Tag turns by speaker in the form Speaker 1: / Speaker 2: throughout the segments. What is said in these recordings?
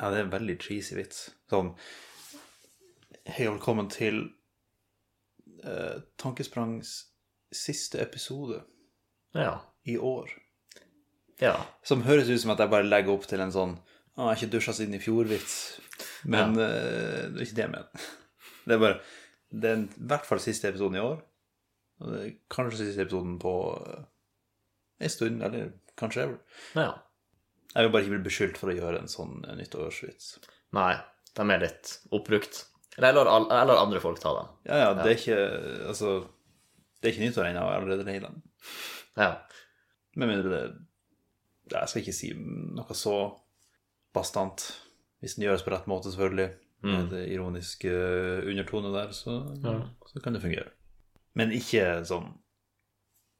Speaker 1: Ja, det er en veldig cheesy vits. Sånn Hei og velkommen til eh, Tankesprangs siste episode
Speaker 2: Ja.
Speaker 1: i år.
Speaker 2: Ja.
Speaker 1: Som høres ut som at jeg bare legger opp til en sånn Å, jeg har ikke dusja siden i fjor-vits. Men eh, det er ikke det jeg mener. Det er bare Det er en- i hvert fall siste episoden i år. Og det er kanskje siste episoden på uh, en stund, eller kanskje ever.
Speaker 2: ja.
Speaker 1: Jeg vil bare ikke bli beskyldt for å gjøre en sånn eh, nyttårsvits.
Speaker 2: Nei, de er litt oppbrukt. Eller jeg lar, all- jeg lar andre folk ta dem.
Speaker 1: Ja, ja, det er ikke Altså, det er ikke nyttår ennå. Jeg er allerede lei den.
Speaker 2: Ja.
Speaker 1: Med mindre det Jeg skal ikke si noe så bastant. Hvis den gjøres på rett måte, selvfølgelig. Med det ironiske undertonet der, så, så kan det fungere. Men ikke sånn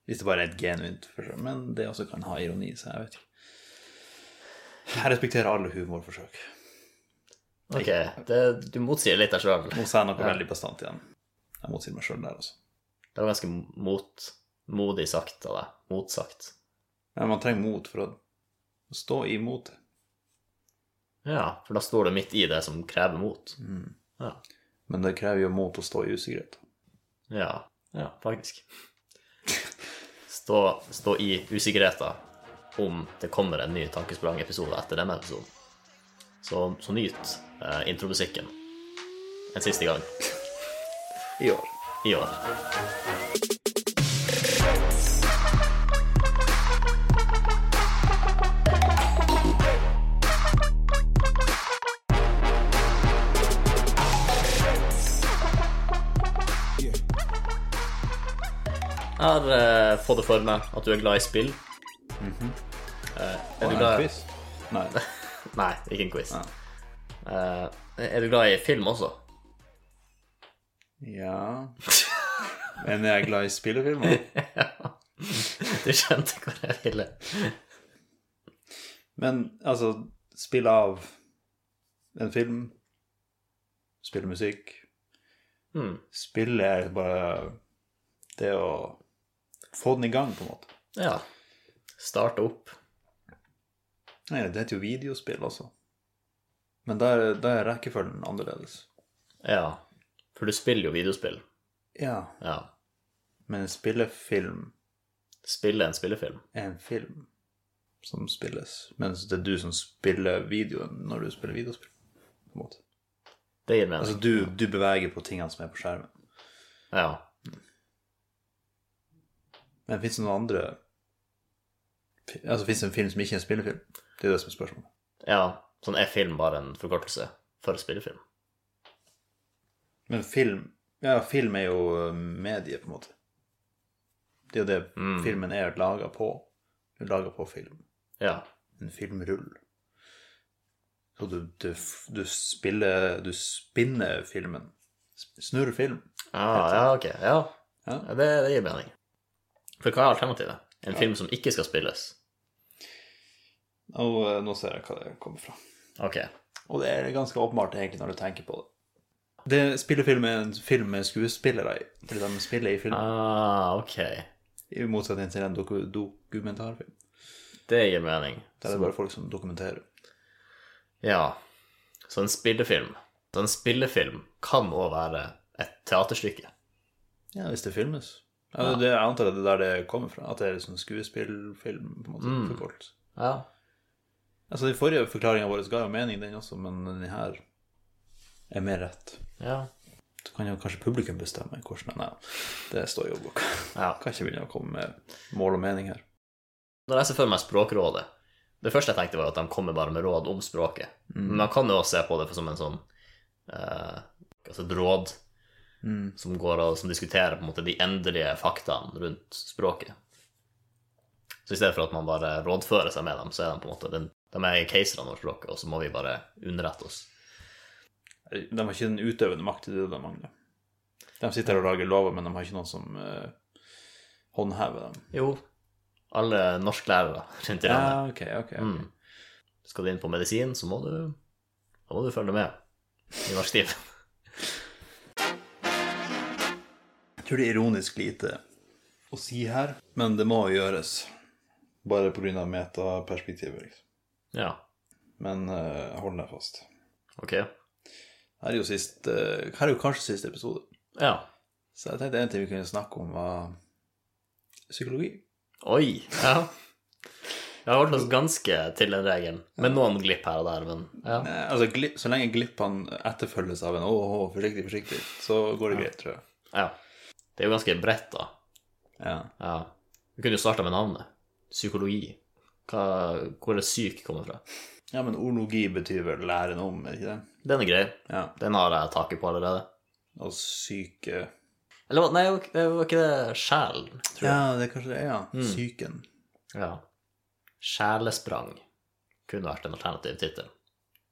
Speaker 1: Hvis det bare er et genuint forsøk. Men det også kan ha ironi i seg. Jeg vet ikke. Jeg respekterer alle humorforsøk.
Speaker 2: Ok, det, du motsier litt deg sjøl.
Speaker 1: Nå sa jeg noe veldig bastant igjen. Jeg motsier meg sjøl der også.
Speaker 2: Det var ganske mot, modig sagt av deg. Motsagt.
Speaker 1: Men man trenger mot for å stå imot det.
Speaker 2: Ja, for da står du midt i det som krever mot. Ja.
Speaker 1: Men det krever jo mot å stå i usikkerhet.
Speaker 2: ja. Ja, faktisk. Stå, stå i usikkerheten om det kommer en ny Tankesprang-episode etter denne episoden. Så, så nyt eh, intromusikken en siste gang
Speaker 1: I år.
Speaker 2: i år. Jeg har eh, fått det for meg at du er glad i spill. Eh, er du glad i
Speaker 1: Mhm. quiz? Nei.
Speaker 2: Nei, ikke en quiz. Eh, er du glad i film også?
Speaker 1: Ja Men er jeg glad i spillefilmer?
Speaker 2: Du skjønte hvor jeg ville.
Speaker 1: Men altså, spill av en film, spille musikk
Speaker 2: Mm.
Speaker 1: Spill er bare det å få den i gang, på en måte.
Speaker 2: Ja. Starte opp.
Speaker 1: Nei, det heter jo videospill også. Men der, der er rekkefølgen annerledes.
Speaker 2: Ja. For du spiller jo videospill.
Speaker 1: Ja,
Speaker 2: Ja.
Speaker 1: men en spillefilm
Speaker 2: Spille en spillefilm.
Speaker 1: er en film som spilles, mens det er du som spiller videoen når du spiller videospill. På en måte.
Speaker 2: Det gir mening.
Speaker 1: Altså du, du beveger på tingene som er på skjermen.
Speaker 2: Ja.
Speaker 1: Men fins det noen andre fi- Altså fins det en film som ikke er en spillefilm? Det er det som er spørsmålet.
Speaker 2: ja. Sånn er film bare en forkortelse for spillefilm.
Speaker 1: Men film Ja, film er jo eh, medie, på en måte. Det er jo det filmen er laga på. Du lager på film.
Speaker 2: Ja.
Speaker 1: En filmrull. Så du, du, f- du spiller Du spinner filmen. S- Snurrer film.
Speaker 2: Ah, ja, ok. Ja.
Speaker 1: Ja.
Speaker 2: ja det, det gir mening. For hva er alternativet? En film som ikke skal spilles?
Speaker 1: Og eh, nå ser jeg hva det kommer fra.
Speaker 2: Ok.
Speaker 1: Og det er ganske åpenbart egentlig når du tenker på det. Det Spillefilm er en film med skuespillere i. Fordi de spiller i film,
Speaker 2: Ah, ok.
Speaker 1: i motsetning til en doku dokumentarfilm.
Speaker 2: Det gir mening.
Speaker 1: Der er det bare folk som dokumenterer.
Speaker 2: Ja. Så en spillefilm Så en spillefilm kan òg være et teaterstykke.
Speaker 1: Ja, hvis det filmes. Ja, det, det, jeg antar at det er der det kommer fra. At det er sånn skuespillfilm, på en måte. forkort.
Speaker 2: Ja.
Speaker 1: Altså, Den forrige forklaringa vår ga jo mening, den også, men den her er mer rett.
Speaker 2: Ja.
Speaker 1: Så kan jo kanskje publikum bestemme hvordan den er. Det står jo i boka.
Speaker 2: Ja.
Speaker 1: Kan ikke begynne å komme med mål og mening her.
Speaker 2: Når jeg ser for meg Språkrådet Det første jeg tenkte, var at de kommer bare med råd om språket. Men man kan jo også se på det som en sånn eh, Altså et råd som, går og, som diskuterer på en måte de endelige faktaene rundt språket. Så i stedet for at man bare rådfører seg med dem, så er de på en måte den, de er keiserne over språket, og så må vi bare underrette oss.
Speaker 1: De har ikke den utøvende makt i det de mangler. De sitter her og lager lover, men de har ikke noen som eh, håndhever dem.
Speaker 2: Jo, alle norsklærere rundt
Speaker 1: Ja,
Speaker 2: i landet.
Speaker 1: ok, ok. ok.
Speaker 2: Mm. Skal du inn på medisin, så må du, da må du følge med i norsk stil.
Speaker 1: Jeg tror det er ironisk lite å si her, men det må gjøres. Bare pga. metaperspektivet, liksom.
Speaker 2: Ja.
Speaker 1: Men eh, hold deg fast.
Speaker 2: Ok.
Speaker 1: Her er jo, sist, eh, her er jo kanskje siste episode.
Speaker 2: Ja.
Speaker 1: Så jeg tenkte en ting vi kunne snakke om, var psykologi.
Speaker 2: Oi. Ja. Vi har holdt oss ganske til den regelen, med noen glipp her og der, men ja.
Speaker 1: Eh, altså, glipp, så lenge glippene etterfølges av en åh, åh, forsiktig, forsiktig, så går det greit, tror jeg.
Speaker 2: ja. Det er jo ganske bredt, da.
Speaker 1: Ja.
Speaker 2: Ja. Vi kunne jo starta med navnet. Psykologi. Hva, hvor er syk kommer fra?
Speaker 1: ja, men ornologi betyr vel læren om, er ikke det?
Speaker 2: Den er grei.
Speaker 1: Ja.
Speaker 2: Den har jeg taket på allerede.
Speaker 1: Og syke
Speaker 2: Eller hva- nei, det var ikke det sjelen, tror jeg.
Speaker 1: Ja, det er kanskje det, ja. Psyken.
Speaker 2: Ja. Sjelesprang kunne vært en alternativ tittel.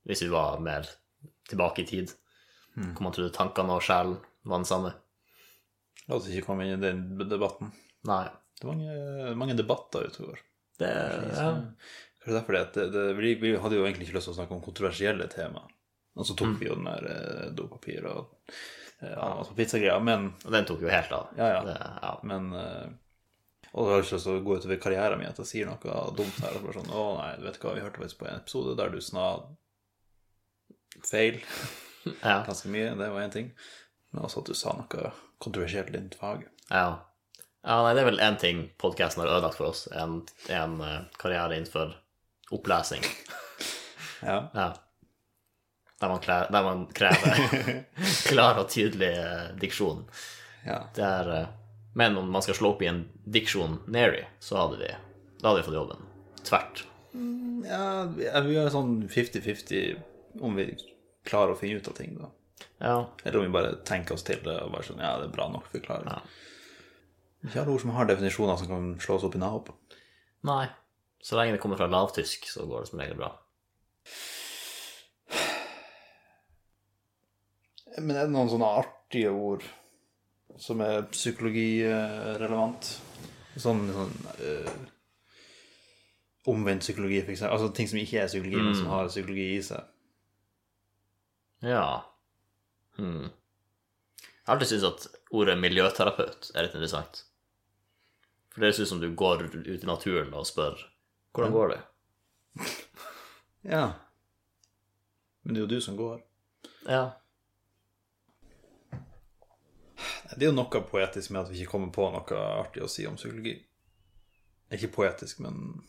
Speaker 2: Hvis vi var mer tilbake i tid. Hvor man trodde tankene og sjelen var den samme.
Speaker 1: La oss ikke komme inn i den debatten.
Speaker 2: Nei.
Speaker 1: Det er mange, mange debatter ute og går.
Speaker 2: Det
Speaker 1: Eh,
Speaker 2: ja.
Speaker 1: Kanskje derfor det at det, det, vi, vi hadde jo egentlig ikke lyst til å snakke om kontroversielle tema. Og så tok vi jo den der eh, dopapir og eh, ananas på pizzagreia, men
Speaker 2: Og den tok jo helt av.
Speaker 1: Ja, ja.
Speaker 2: Det, ja.
Speaker 1: Men eh, Og da har jeg ikke lyst til å gå utover karrieren min at jeg sier noe dumt her. Og bare sånn, å nei, du vet hva, vi hørte faktisk på en episode der du sna feil
Speaker 2: Ja.
Speaker 1: ganske mye. Det var én ting. Men også at du sa noe kontroversielt i ditt fag.
Speaker 2: ja. ja, nei, det er vel én ting podkasten har ødelagt for oss. En, en eh, karriere innenfor opplesing.
Speaker 1: Ja.
Speaker 2: Ja. Der man, klær, der man krever klar og tydelig eh, diksjon.
Speaker 1: ja.
Speaker 2: Det er, eh, men om man skal slå opp i en dictionary, så hadde de, da hadde de fått jobben. Tvert.
Speaker 1: ja vi ja, vi er sånn 50-50 om vi klarer å finne ut av ting, da.
Speaker 2: Ja.
Speaker 1: Eller om vi bare tenker oss til det og bare sånn Ja, det er bra nok, vi klarer det. Ikke alle ord som har definisjoner som kan slås opp i navn.
Speaker 2: Nei. Så lenge det kommer fra lavtysk, så går det som regel bra.
Speaker 1: Men er det noen sånne artige ord som er psykologirelevant? Sånn, sånn eh, omvendt psykologi, for eksempel. Altså ting som ikke er psykologi, men som har psykologi i seg.
Speaker 2: Ja. Hmm. Jeg har alltid syntes at ordet miljøterapeut er litt interessant. For det ser ut som du går ut i naturen og spør hvordan går det?
Speaker 1: Ja. Men det er jo du som går.
Speaker 2: Ja.
Speaker 1: Det er jo noe poetisk med at vi ikke kommer på noe artig å si om psykologi. Ikke poetisk, men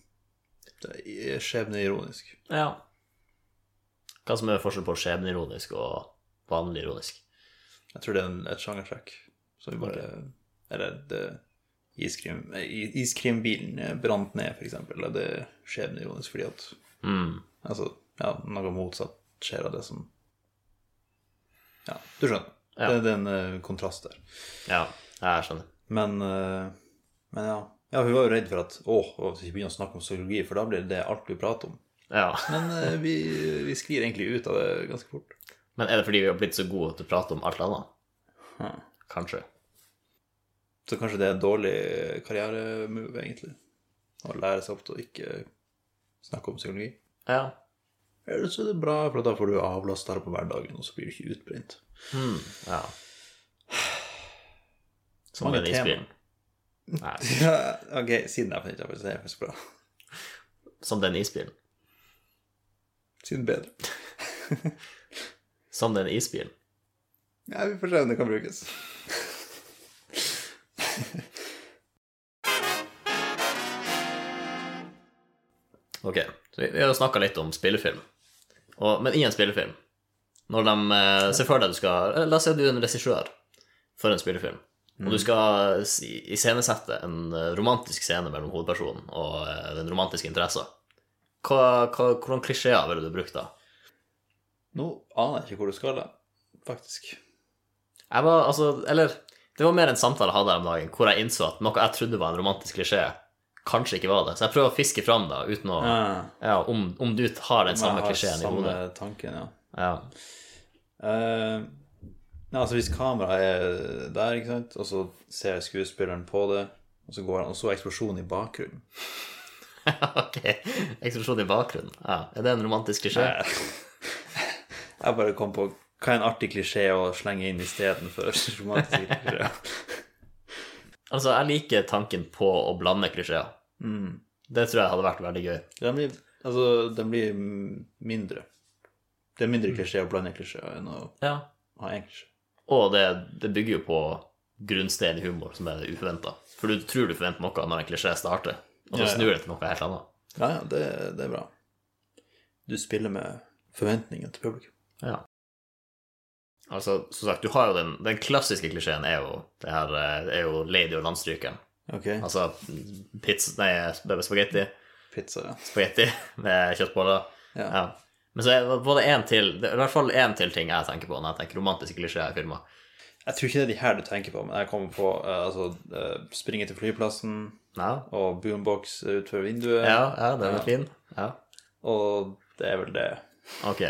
Speaker 1: det er skjebneironisk.
Speaker 2: ja. Hva som er forskjellen på skjebneironisk og vanlig ironisk?
Speaker 1: Jeg tror det er en, et sjangertrekk. Så vi bare Eller det iskrim, eh, i- Iskrimbilen eh, brant ned, f.eks. Eller det er skjebneironisk fordi at
Speaker 2: Hmm.
Speaker 1: Altså, ja, noe motsatt skjer av det som Ja, du skjønner.
Speaker 2: Ja.
Speaker 1: Det, det er en eh, kontrast der.
Speaker 2: Ja, jeg skjønner.
Speaker 1: Men, eh, men ja. Ja, hun var jo redd for at Å, at vi ikke begynner å snakke om psykologi, for da blir det alt vi prater om.
Speaker 2: Ja.
Speaker 1: Men eh, vi, vi sklir egentlig ut av det ganske fort.
Speaker 2: Men er det fordi vi har blitt så gode til å prate om alt annet?
Speaker 1: Hm.
Speaker 2: Kanskje.
Speaker 1: Så kanskje det er en dårlig karrieremove, egentlig. Å lære seg opp til å ikke snakke om psykologi.
Speaker 2: Ja.
Speaker 1: Eller så er det bra, for da får du avlast her på hverdagen, og så blir du ikke utbrent.
Speaker 2: Hmm, ja. Som
Speaker 1: Mange
Speaker 2: den isbilen. Nei,
Speaker 1: Ja, ok, siden jeg fant ut det, er faktisk bra.
Speaker 2: som den isbilen.
Speaker 1: Siden bedre.
Speaker 2: Som den isbilen.
Speaker 1: Ja, vi får se om det kan brukes.
Speaker 2: Ok, så vi vi har snakka litt om spillefilm. Og, men i en spillefilm Når de eh, ser for deg du skal eh, La oss si at du er en regissør for en spillefilm. Og du skal s- iscenesette en eh, romantisk scene mellom hovedpersonen og eh, den romantiske interessen. Hva, hva, hvordan klisjeer ville du brukt da?
Speaker 1: Nå aner jeg ikke hvor du skal, da. Faktisk.
Speaker 2: Jeg var, altså, eller Det var mer en samtale jeg hadde her om dagen, hvor jeg innså at noe jeg trodde var en romantisk klisjé, kanskje ikke var det. Så jeg prøver å fiske fram da, uten å
Speaker 1: Ja,
Speaker 2: ja, om, om du har den samme
Speaker 1: jeg har
Speaker 2: klisjeen i hodet.
Speaker 1: Samme tanken, ja.
Speaker 2: Ja.
Speaker 1: Eh, nei, altså Hvis kameraet er der, ikke sant, og så ser skuespilleren på det, og så går han, og så eksplosjonen i bakgrunnen
Speaker 2: ok. Eksplosjon i bakgrunnen. Ja. Er det en romantisk klisjé?
Speaker 1: Jeg jeg bare kom på hva er en artig klisjé å slenge inn istedenfor romantisk klisjé.
Speaker 2: Altså, jeg liker tanken på å blande klisjeer.
Speaker 1: Mm.
Speaker 2: Det tror jeg hadde vært veldig gøy.
Speaker 1: Det Mm. blir Altså, den blir m- mindre. Det er mindre klisjé å blande klisjeer enn å
Speaker 2: Ja.
Speaker 1: ha én klisjé.
Speaker 2: Og det, det bygger jo på grunnsteinen i humor, som er det uförvänta. For du tror du forventer noe når en klisjé starter, og så
Speaker 1: Ja, ja.
Speaker 2: snur det til noe helt annet.
Speaker 1: Ja, ja, det, det er bra. Du spiller med forventningene til publikum.
Speaker 2: Ja. Altså, som sagt, du har jo den, den klassiske klisjeen er jo det her eh, er jo lady og landstrykeren.
Speaker 1: Ok,
Speaker 2: Altså pizza Nei, sp- spagetti.
Speaker 1: pizza, ja.
Speaker 2: Spagetti med kjøttboller.
Speaker 1: Ja.
Speaker 2: Men så er det både en til det er i hvert fall én til ting jeg tenker på når jeg tenker romantiske klisjeer i filmer.
Speaker 1: Jeg tror ikke det er de her du tenker på, men jeg kommer på eh, altså, eh, springe til flyplassen
Speaker 2: Ja,
Speaker 1: og boombox utenfor vinduet,
Speaker 2: ja, ja den er
Speaker 1: Ja.
Speaker 2: fin. Ja.
Speaker 1: og det er vel det.
Speaker 2: Ok.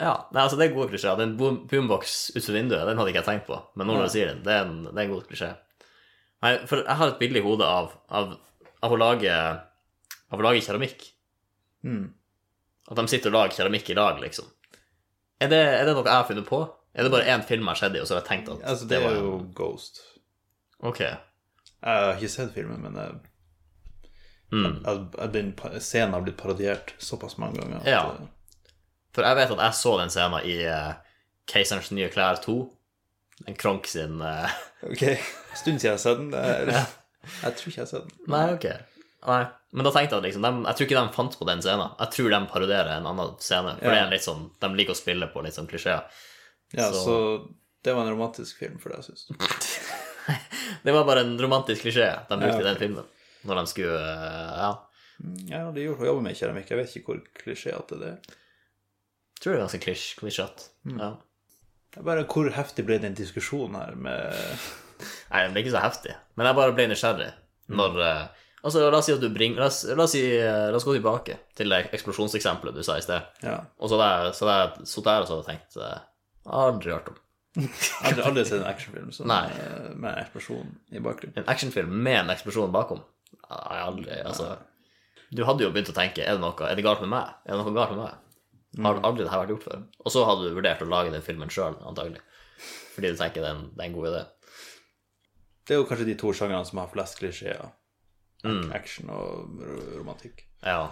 Speaker 2: Ja, nei, altså det er gode klisjeer. Den boom, boombox utenfor vinduet, den hadde ikke jeg tenkt på. Men nå
Speaker 1: Ja.
Speaker 2: når du sier den, det er en, det er en god klisjé. Nei, for jeg har et bilde i hodet av, av, av, å lage, av å lage keramikk.
Speaker 1: Mm.
Speaker 2: At de sitter og lager keramikk i lag, liksom. Er det, er det noe jeg har funnet på? Er det bare én film jeg har sett i, og så har jeg tenkt at
Speaker 1: Altså, det var
Speaker 2: en-
Speaker 1: jo Ghost.
Speaker 2: Ok.
Speaker 1: Jeg har ikke sett filmen, men eh, jeg,
Speaker 2: Mm.
Speaker 1: jeg, jeg blir, scenen har blitt parodiert såpass mange ganger. at,
Speaker 2: Ja.
Speaker 1: eh,
Speaker 2: For jeg vet at jeg så den scenen i eh, Keiserens nye klær 2. En Kronk sin eh,
Speaker 1: Ok, stund siden jeg har sett den. det er- Jeg tror ikke jeg har sett den.
Speaker 2: Nei, ok. Nei. Men da tenkte jeg at liksom, dem- jeg tror ikke de fant på den scenen. Jeg tror de parodierer en annen scene. For
Speaker 1: Ja.
Speaker 2: det er en litt sånn, de liker å spille på litt sånn klisjeer.
Speaker 1: Ja,
Speaker 2: Så-
Speaker 1: så... det var en romantisk film for deg, syns du?
Speaker 2: Det var bare en romantisk klisjé de brukte
Speaker 1: Ja,
Speaker 2: i den filmen. Når de skulle eh, Ja.
Speaker 1: Mm, Ja, de gjorde jobber med keramikk. Jeg vet ikke hvor klisjéete det er.
Speaker 2: Jeg tror det er ganske klisj- klisjete.
Speaker 1: Mm.
Speaker 2: Ja.
Speaker 1: Det er bare hvor heftig ble den diskusjonen her med
Speaker 2: Nei, den ble ikke så heftig. Men jeg bare ble nysgjerrig
Speaker 1: Mm.
Speaker 2: når eh, Altså, la oss si at du bringer La oss, la oss, si, eh, la oss gå tilbake til det eksplosjonseksempelet du sa i sted.
Speaker 1: Ja.
Speaker 2: Og så hadde jeg- så hadde jeg sittet her og så hadde jeg tenkt eh, Aldri hørt om.
Speaker 1: Jeg har aldri- aldri sett en actionfilm som,
Speaker 2: Nei.
Speaker 1: eh, med en eksplosjon i bakgrunnen.
Speaker 2: En actionfilm med en eksplosjon bakom? Nei, aldri, altså. Du hadde jo begynt å tenke er det noe, er det galt med meg? Er det noe galt med meg? Har aldri det her vært gjort før? Og så hadde du vurdert å lage den filmen sjøl, antagelig. Fordi du tenker det er en, det er en god idé.
Speaker 1: Det er jo kanskje de to sjangrene som har flest klisjeer.
Speaker 2: Mm.
Speaker 1: Action og ro- romantikk.
Speaker 2: Ja.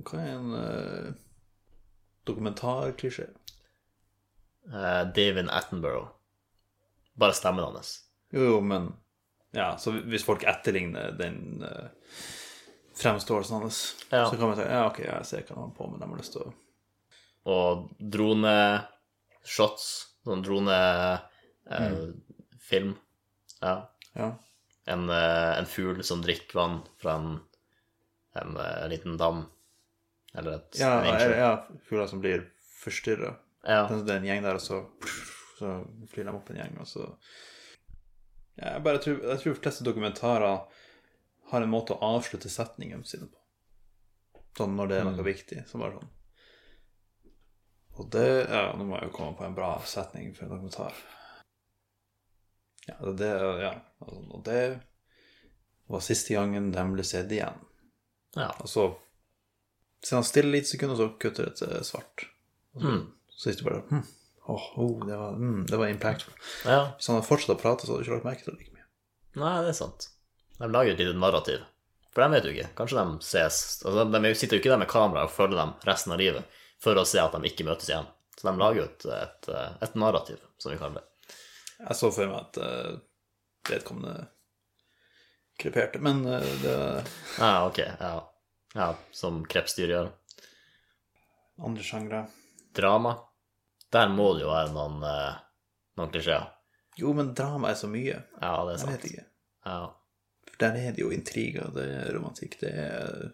Speaker 1: Hva er en eh, dokumentarklisjé?
Speaker 2: Eh, David Attenborough. Bare stemmen hans.
Speaker 1: Jo, jo, men Ja, så hvis folk etterligner den eh, fremståelsen hans,
Speaker 2: Ja.
Speaker 1: så kan man si ja, ok, jeg ser hva de har på med, de har lyst til å
Speaker 2: Og droneshots. Sånn dronefilm. Ja.
Speaker 1: Ja.
Speaker 2: en, eh, en fugl som drikker vann fra en, en eh, liten dam. Eller et
Speaker 1: Ja,
Speaker 2: en
Speaker 1: eller-
Speaker 2: innsjø.
Speaker 1: ja fugler som blir forstyrra.
Speaker 2: Ja.
Speaker 1: Det er en gjeng der, og så, så flyr de opp en gjeng, og så ja, Jeg bare tror, jeg tror de fleste dokumentarer har en måte å avslutte setningen sine på. Sånn når det er
Speaker 2: Mm.
Speaker 1: noe viktig. Så bare sånn. Og det Ja, nå må jeg jo komme på en bra setning for en dokumentar. Ja, det- det Ja. altså, Og det var siste gangen de ble sett igjen.
Speaker 2: ja.
Speaker 1: Og så sitter han stille litt sekund, og så kutter det til svart. Og så,
Speaker 2: Mm.
Speaker 1: så sitter du bare hm, åh, oh, det, var, mm, det var impactful.
Speaker 2: ja.
Speaker 1: Hvis han hadde fortsatt å prate, så hadde du ikke lagt merke til det like mye.
Speaker 2: Nei, det er sant. De lager jo et lite narrativ. For dem vet jo ikke. Kanskje de ses altså, de, de sitter jo ikke der med kamera og følger dem resten av livet for å se at de ikke møtes igjen. Så de lager jo et, et, eh, et narrativ, som vi kaller det.
Speaker 1: Jeg så for meg at eh, vedkommende kreperte, men eh, det er
Speaker 2: Ja, ok. Ja. ja som krepsdyr gjør.
Speaker 1: andre sjangre.
Speaker 2: Drama. Der må det jo være noen, eh, noen klisjeer.
Speaker 1: Jo, men drama er så mye.
Speaker 2: Ja, det er
Speaker 1: Jeg vet
Speaker 2: sant.
Speaker 1: ikke.
Speaker 2: Ja.
Speaker 1: For der er det jo intriger, det er romantikk, det er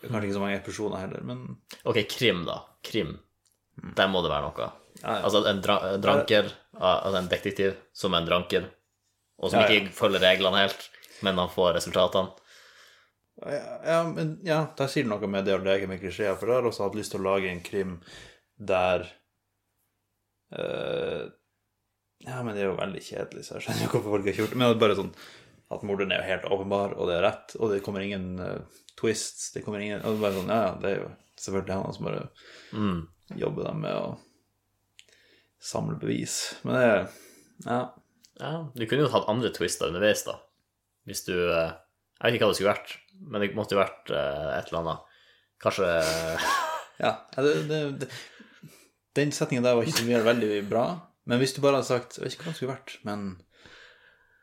Speaker 1: det er Kanskje ikke så mange episoder heller, men
Speaker 2: Ok, krim, da. Krim. Der må det være noe.
Speaker 1: Mm. ja, ja.
Speaker 2: Altså en dra en dranker, altså en detektiv som er en dranker, og som
Speaker 1: Ja, ja.
Speaker 2: ikke følger reglene helt, men han får resultatene.
Speaker 1: Ja, ja, men ja, der sier du noe med det å leke med klisjeer, for jeg har også hatt lyst til å lage en krim der eh, Ja, men det er jo veldig kjedelig, så jeg skjønner jo hvorfor folk har gjort det. Men det er bare sånn at morderen er jo helt åpenbar, og det er rett, og det kommer ingen eh, twists. Det kommer ingen og det er bare sånn, Ja, ja, det er jo selvfølgelig han som bare
Speaker 2: Mm.
Speaker 1: jobber dem med å samle bevis. Men det er Ja.
Speaker 2: Ja, du kunne jo tatt andre twister underveis, da. Hvis du eh, Jeg vet ikke hva det skulle vært, men det måtte jo vært eh, et eller annet. Kanskje
Speaker 1: Ja, det, det, det, Den setninga der var ikke så mye veldig bra. Men hvis du bare hadde sagt Jeg vet ikke hva det skulle vært, men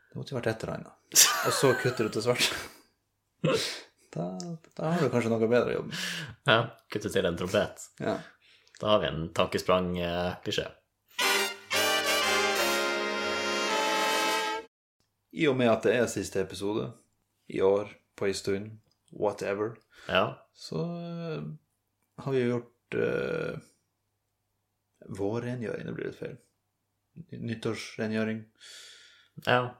Speaker 1: det måtte jo vært et eller annet. Og så kutter du til svart. Da, da har du kanskje noe bedre å jobbe med.
Speaker 2: Ja, kutte til en trompet.
Speaker 1: Ja.
Speaker 2: Da har vi en eh, tankesprang-klisjé.
Speaker 1: I og med at det er siste episode i år, på ei stund, whatever,
Speaker 2: Ja.
Speaker 1: så eh, har vi jo gjort uh, vårrengjøring. Det blir litt feil. Nyttårsrengjøring.
Speaker 2: ja.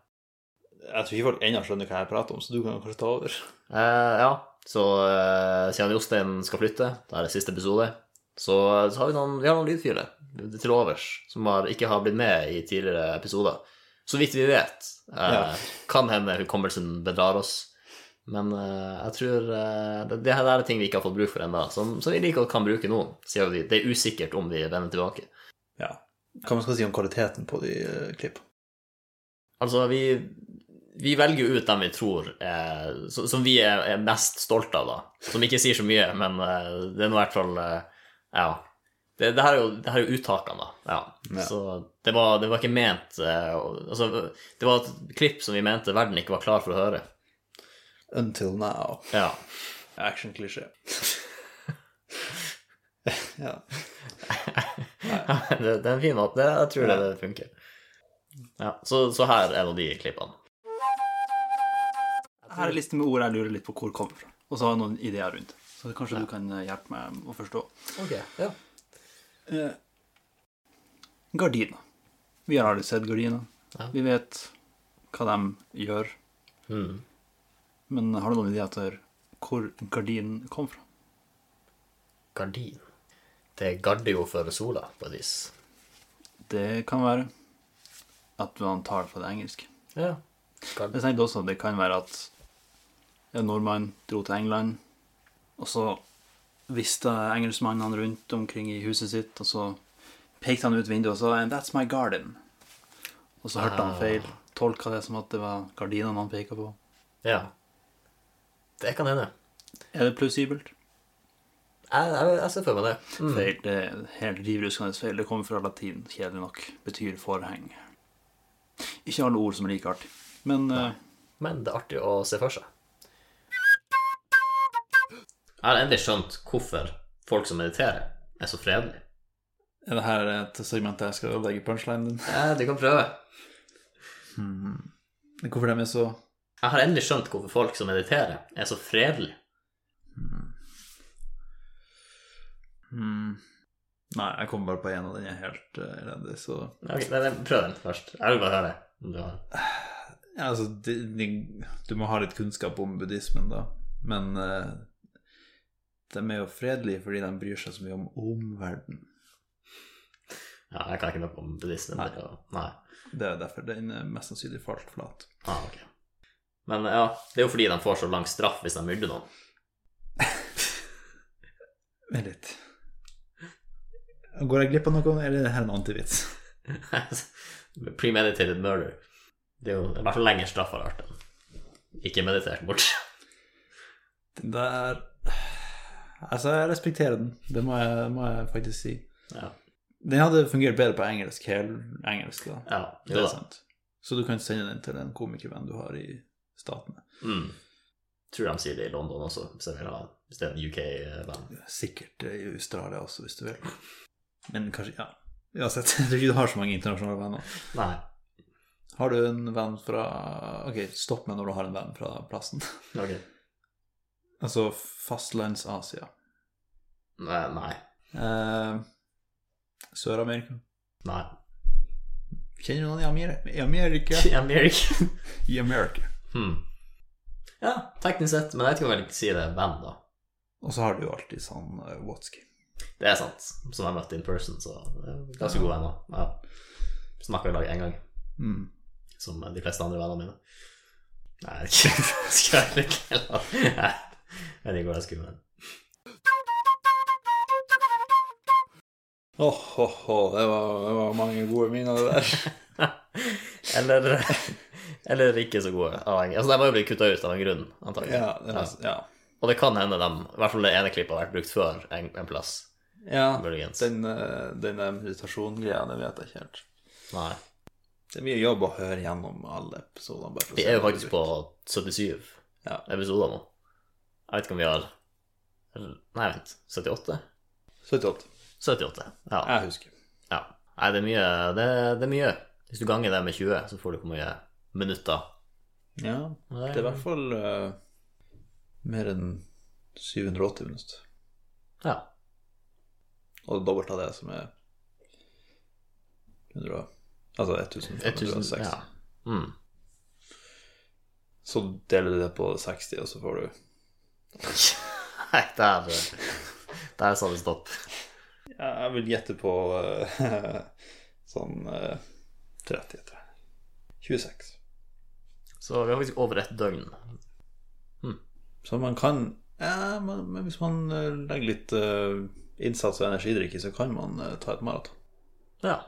Speaker 1: Jeg tror ikke folk ennå skjønner hva jeg prater om, så du kan kanskje ta over.
Speaker 2: Eh, ja. Så eh, siden Jostein skal flytte, det er det siste episode, så, så har vi noen, vi har noen lydfiler til overs som har, ikke har blitt med i tidligere episoder. Så vidt vi vet. Eh,
Speaker 1: Ja.
Speaker 2: Kan hende hukommelsen bedrar oss. Men eh, jeg tror eh, det, det her er ting vi ikke har fått bruk for ennå, som, som vi like godt kan bruke nå. Siden vi, det er usikkert om vi vender tilbake.
Speaker 1: Ja. Hva man skal si om kvaliteten på de eh, klippene?
Speaker 2: Altså, vi, vi velger jo ut dem vi tror eh, som, som vi er, er mest stolte av, da. Som ikke sier så mye, men eh, det er nå i hvert fall eh, Ja. Det, det, her er jo, det her er jo uttakene, da. Ja.
Speaker 1: Ja.
Speaker 2: Så det var, det var ikke ment eh, å- Altså, det var et klipp som vi mente verden ikke var klar for å høre.
Speaker 1: Until now.
Speaker 2: Ja.
Speaker 1: Actionklisjé. ja.
Speaker 2: det, det er en fin måte. Det, jeg tror det, det funker. Ja, så, så her er nå de klippene.
Speaker 1: Her er en liste med ord jeg lurer litt på hvor kommer fra. Og så har jeg noen ideer rundt. Så kanskje du kan eh, hjelpe meg å forstå.
Speaker 2: Ok, ja.
Speaker 1: Eh, gardiner. Vi har aldri sett gardiner.
Speaker 2: Ja.
Speaker 1: Vi vet hva de gjør.
Speaker 2: Mm.
Speaker 1: Men har du noen ideer til hvor gardinen kom fra?
Speaker 2: Gardin. Det garder jo for sola, på et vis.
Speaker 1: Det kan være at man tar det fra det engelske.
Speaker 2: Ja.
Speaker 1: Men Jeg tenkte også at det kan være at en nordmann dro til England, og så viste engelskmannen han rundt omkring i huset sitt, og så pekte han ut vinduet og sa And that's my garden. Og så hørte han feil. Tolka det som at det var gardinene han peka på.
Speaker 2: Ja. Det kan hende.
Speaker 1: Er det plausibelt?
Speaker 2: Jeg, jeg, jeg ser for meg det. Mm.
Speaker 1: Feil. Det er helt rivruskende feil. Det kommer fra latin, kjedelig nok. Betyr forheng. Ikke alle ord som er like artig. Men eh,
Speaker 2: Men det er artig å se for seg. Jeg har endelig skjønt hvorfor folk som mediterer, er så fredelige.
Speaker 1: Er det her et segment jeg skal ødelegge punchlinen din?
Speaker 2: Eh, du kan prøve.
Speaker 1: Hvorfor de er så
Speaker 2: Jeg har endelig skjønt hvorfor folk som mediterer, er så fredelige.
Speaker 1: Mm. Nei, jeg kom bare på én, og den er helt eh, elendig, så
Speaker 2: Ok, nei, nei, Prøv den først. Jeg vil bare høre om du har den.
Speaker 1: ja, altså, det, det, Du må ha litt kunnskap om buddhismen, da. Men eh, de er jo fredelige fordi de bryr seg så mye om omverdenen.
Speaker 2: Ja, jeg kan ikke noe om buddhismen.
Speaker 1: Nei.
Speaker 2: det kan- Nei.
Speaker 1: Det er derfor den er mest sannsynlig falt flat.
Speaker 2: Ah, ok. Men ja, det er jo fordi de får så lang straff hvis de myrder noen.
Speaker 1: Vent litt. Går jeg glipp av noe, eller er det her en antivits?
Speaker 2: Premeditated murder. Det er jo i hvert fall lenger straff har vært enn ikke meditert bort.
Speaker 1: Den der Altså, jeg respekterer den. Det må jeg, må jeg faktisk si.
Speaker 2: Ja.
Speaker 1: Den hadde fungert bedre på engelsk. Hel engelsk, da.
Speaker 2: ja
Speaker 1: Det
Speaker 2: jo
Speaker 1: er
Speaker 2: da.
Speaker 1: sant. Så du kan sende den til en komikervenn du har i Statene.
Speaker 2: Mm. Tror de sier det i London også, hvis, jeg vil ha, hvis det er en eh, UK-band.
Speaker 1: Sikkert eh, i Australia også, hvis du vil. Men kanskje Ja, uansett. Jeg tror ikke du har så mange internasjonale venner.
Speaker 2: Nei.
Speaker 1: Har du en venn fra Ok, stopp meg når du har en venn fra plassen.
Speaker 2: ok.
Speaker 1: Altså fastlands-Asia.
Speaker 2: Nei. Nei.
Speaker 1: Eh, Sør-Amerika.
Speaker 2: Nei.
Speaker 1: Kjenner du noen i Amerika? I Amerika?
Speaker 2: American.
Speaker 1: I Amerika.
Speaker 2: Hmm. Ja, teknisk sett, men jeg vet ikke om jeg vil si det er band, da.
Speaker 1: Og så har du jo alltid sånn uh, Watsky.
Speaker 2: Det er sant, som jeg møtte in person, så det er ganske gode venner. Ja. Snakka i lag én gang.
Speaker 1: Mm.
Speaker 2: som de fleste andre vennene mine. Nei, jeg vet ikke skal jeg være litt heller. Nei, Jeg vet ikke hvor jeg skulle med den.
Speaker 1: Åh, åh, åh, det, var- det var mange gode minner, det der.
Speaker 2: Eller, eller ikke så gode. avhengig. Altså, De var jo blitt kutta ut av en grunn, antakelig.
Speaker 1: Ja, det er, ja.
Speaker 2: Og det kan hende dem, i hvert fall det ene klippet har vært brukt før en, en plass.
Speaker 1: Ja,
Speaker 2: Muligens.
Speaker 1: den, eh, den der meditasjongreia, det vet jeg ikke helt.
Speaker 2: Nei.
Speaker 1: Det er mye jobb å høre gjennom alle episodene. bare for å
Speaker 2: Vi
Speaker 1: se
Speaker 2: er jo
Speaker 1: hva det
Speaker 2: faktisk
Speaker 1: blir.
Speaker 2: på 77
Speaker 1: Ja.
Speaker 2: episoder nå. Jeg vet ikke om vi har Nei, vent. 78?
Speaker 1: 78.
Speaker 2: 78. Ja.
Speaker 1: Jeg husker.
Speaker 2: ja. Nei, det er mye. Det, det er mye. Hvis du ganger det med 20, så får du hvor mye minutter.
Speaker 1: Ja, det er i hvert fall eh, mer enn 780 minutter.
Speaker 2: Ja.
Speaker 1: Og det dobbelte av det som er 100, og- altså 1506.
Speaker 2: 1000 Ja. Mm.
Speaker 1: Så deler du det på 60, og så får du
Speaker 2: Nei, der, der sa det stopp.
Speaker 1: Ja, Jeg vil gjette på eh, sånn eh, 30 etter. 26.
Speaker 2: Så vi har faktisk over et døgn.
Speaker 1: Så man kan ja, men, men hvis man eh, legger litt eh, innsats og energidrikk i, så kan man eh, ta et maraton.
Speaker 2: Ja.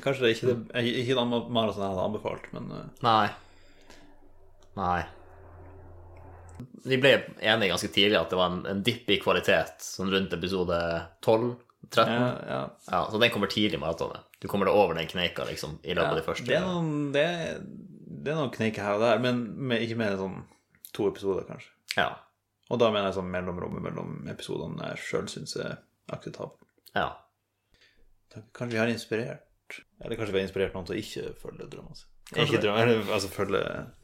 Speaker 1: Kanskje det er ikke
Speaker 2: Mm.
Speaker 1: det, eh, ikke det maraton jeg hadde anbefalt, men eh,
Speaker 2: Nei. Nei. Vi ble enige ganske tidlig at det var en, en dipp i kvalitet sånn rundt episode 12-13.
Speaker 1: ja, ja,
Speaker 2: Ja, så den kommer tidlig i maratonet. Du kommer deg over den kneika liksom, i løpet av de første.
Speaker 1: Det er noen, det, er- det er noen kneiker her og der, men med, ikke mer enn sånn to episoder, kanskje.
Speaker 2: Ja.
Speaker 1: Og da mener jeg sånn mellomrommet mellom episodene jeg sjøl syns er akseptabelt.
Speaker 2: ja.
Speaker 1: Kanskje vi har inspirert Eller kanskje vi har inspirert noen til å ikke følge drømmene sine.
Speaker 2: Kanskje
Speaker 1: Ikke
Speaker 2: det.
Speaker 1: drømmen, eller altså følge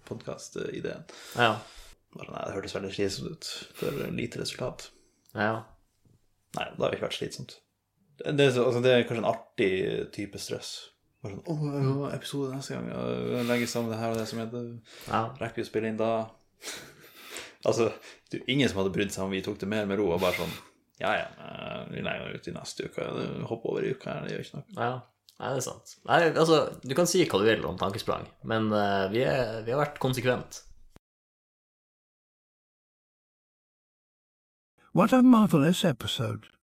Speaker 1: podkast-ideen.
Speaker 2: Ja.
Speaker 1: Bare sånn, Nei, det hørtes veldig slitsomt ut. For lite resultat.
Speaker 2: ja.
Speaker 1: Nei, det har jo ikke vært slitsomt. Det det er, så, altså, det er kanskje en artig type stress. Bare sånn Å, ja, episode neste gang. ja, Legge sammen det her og det som heter
Speaker 2: ja.
Speaker 1: Rekker vi å spille inn da? altså, det er jo ingen som hadde brydd seg om vi tok det mer med ro og bare sånn Ja, ja, eh, vi legger det ut i neste uke. Hopp over i uka her, det gjør ikke noe.
Speaker 2: ja. Nei, det er sant. Nei, altså, du kan si hva du vil om tankesprang, men eh, vi, er, vi har vært konsekvent.
Speaker 3: What a marvelous episode!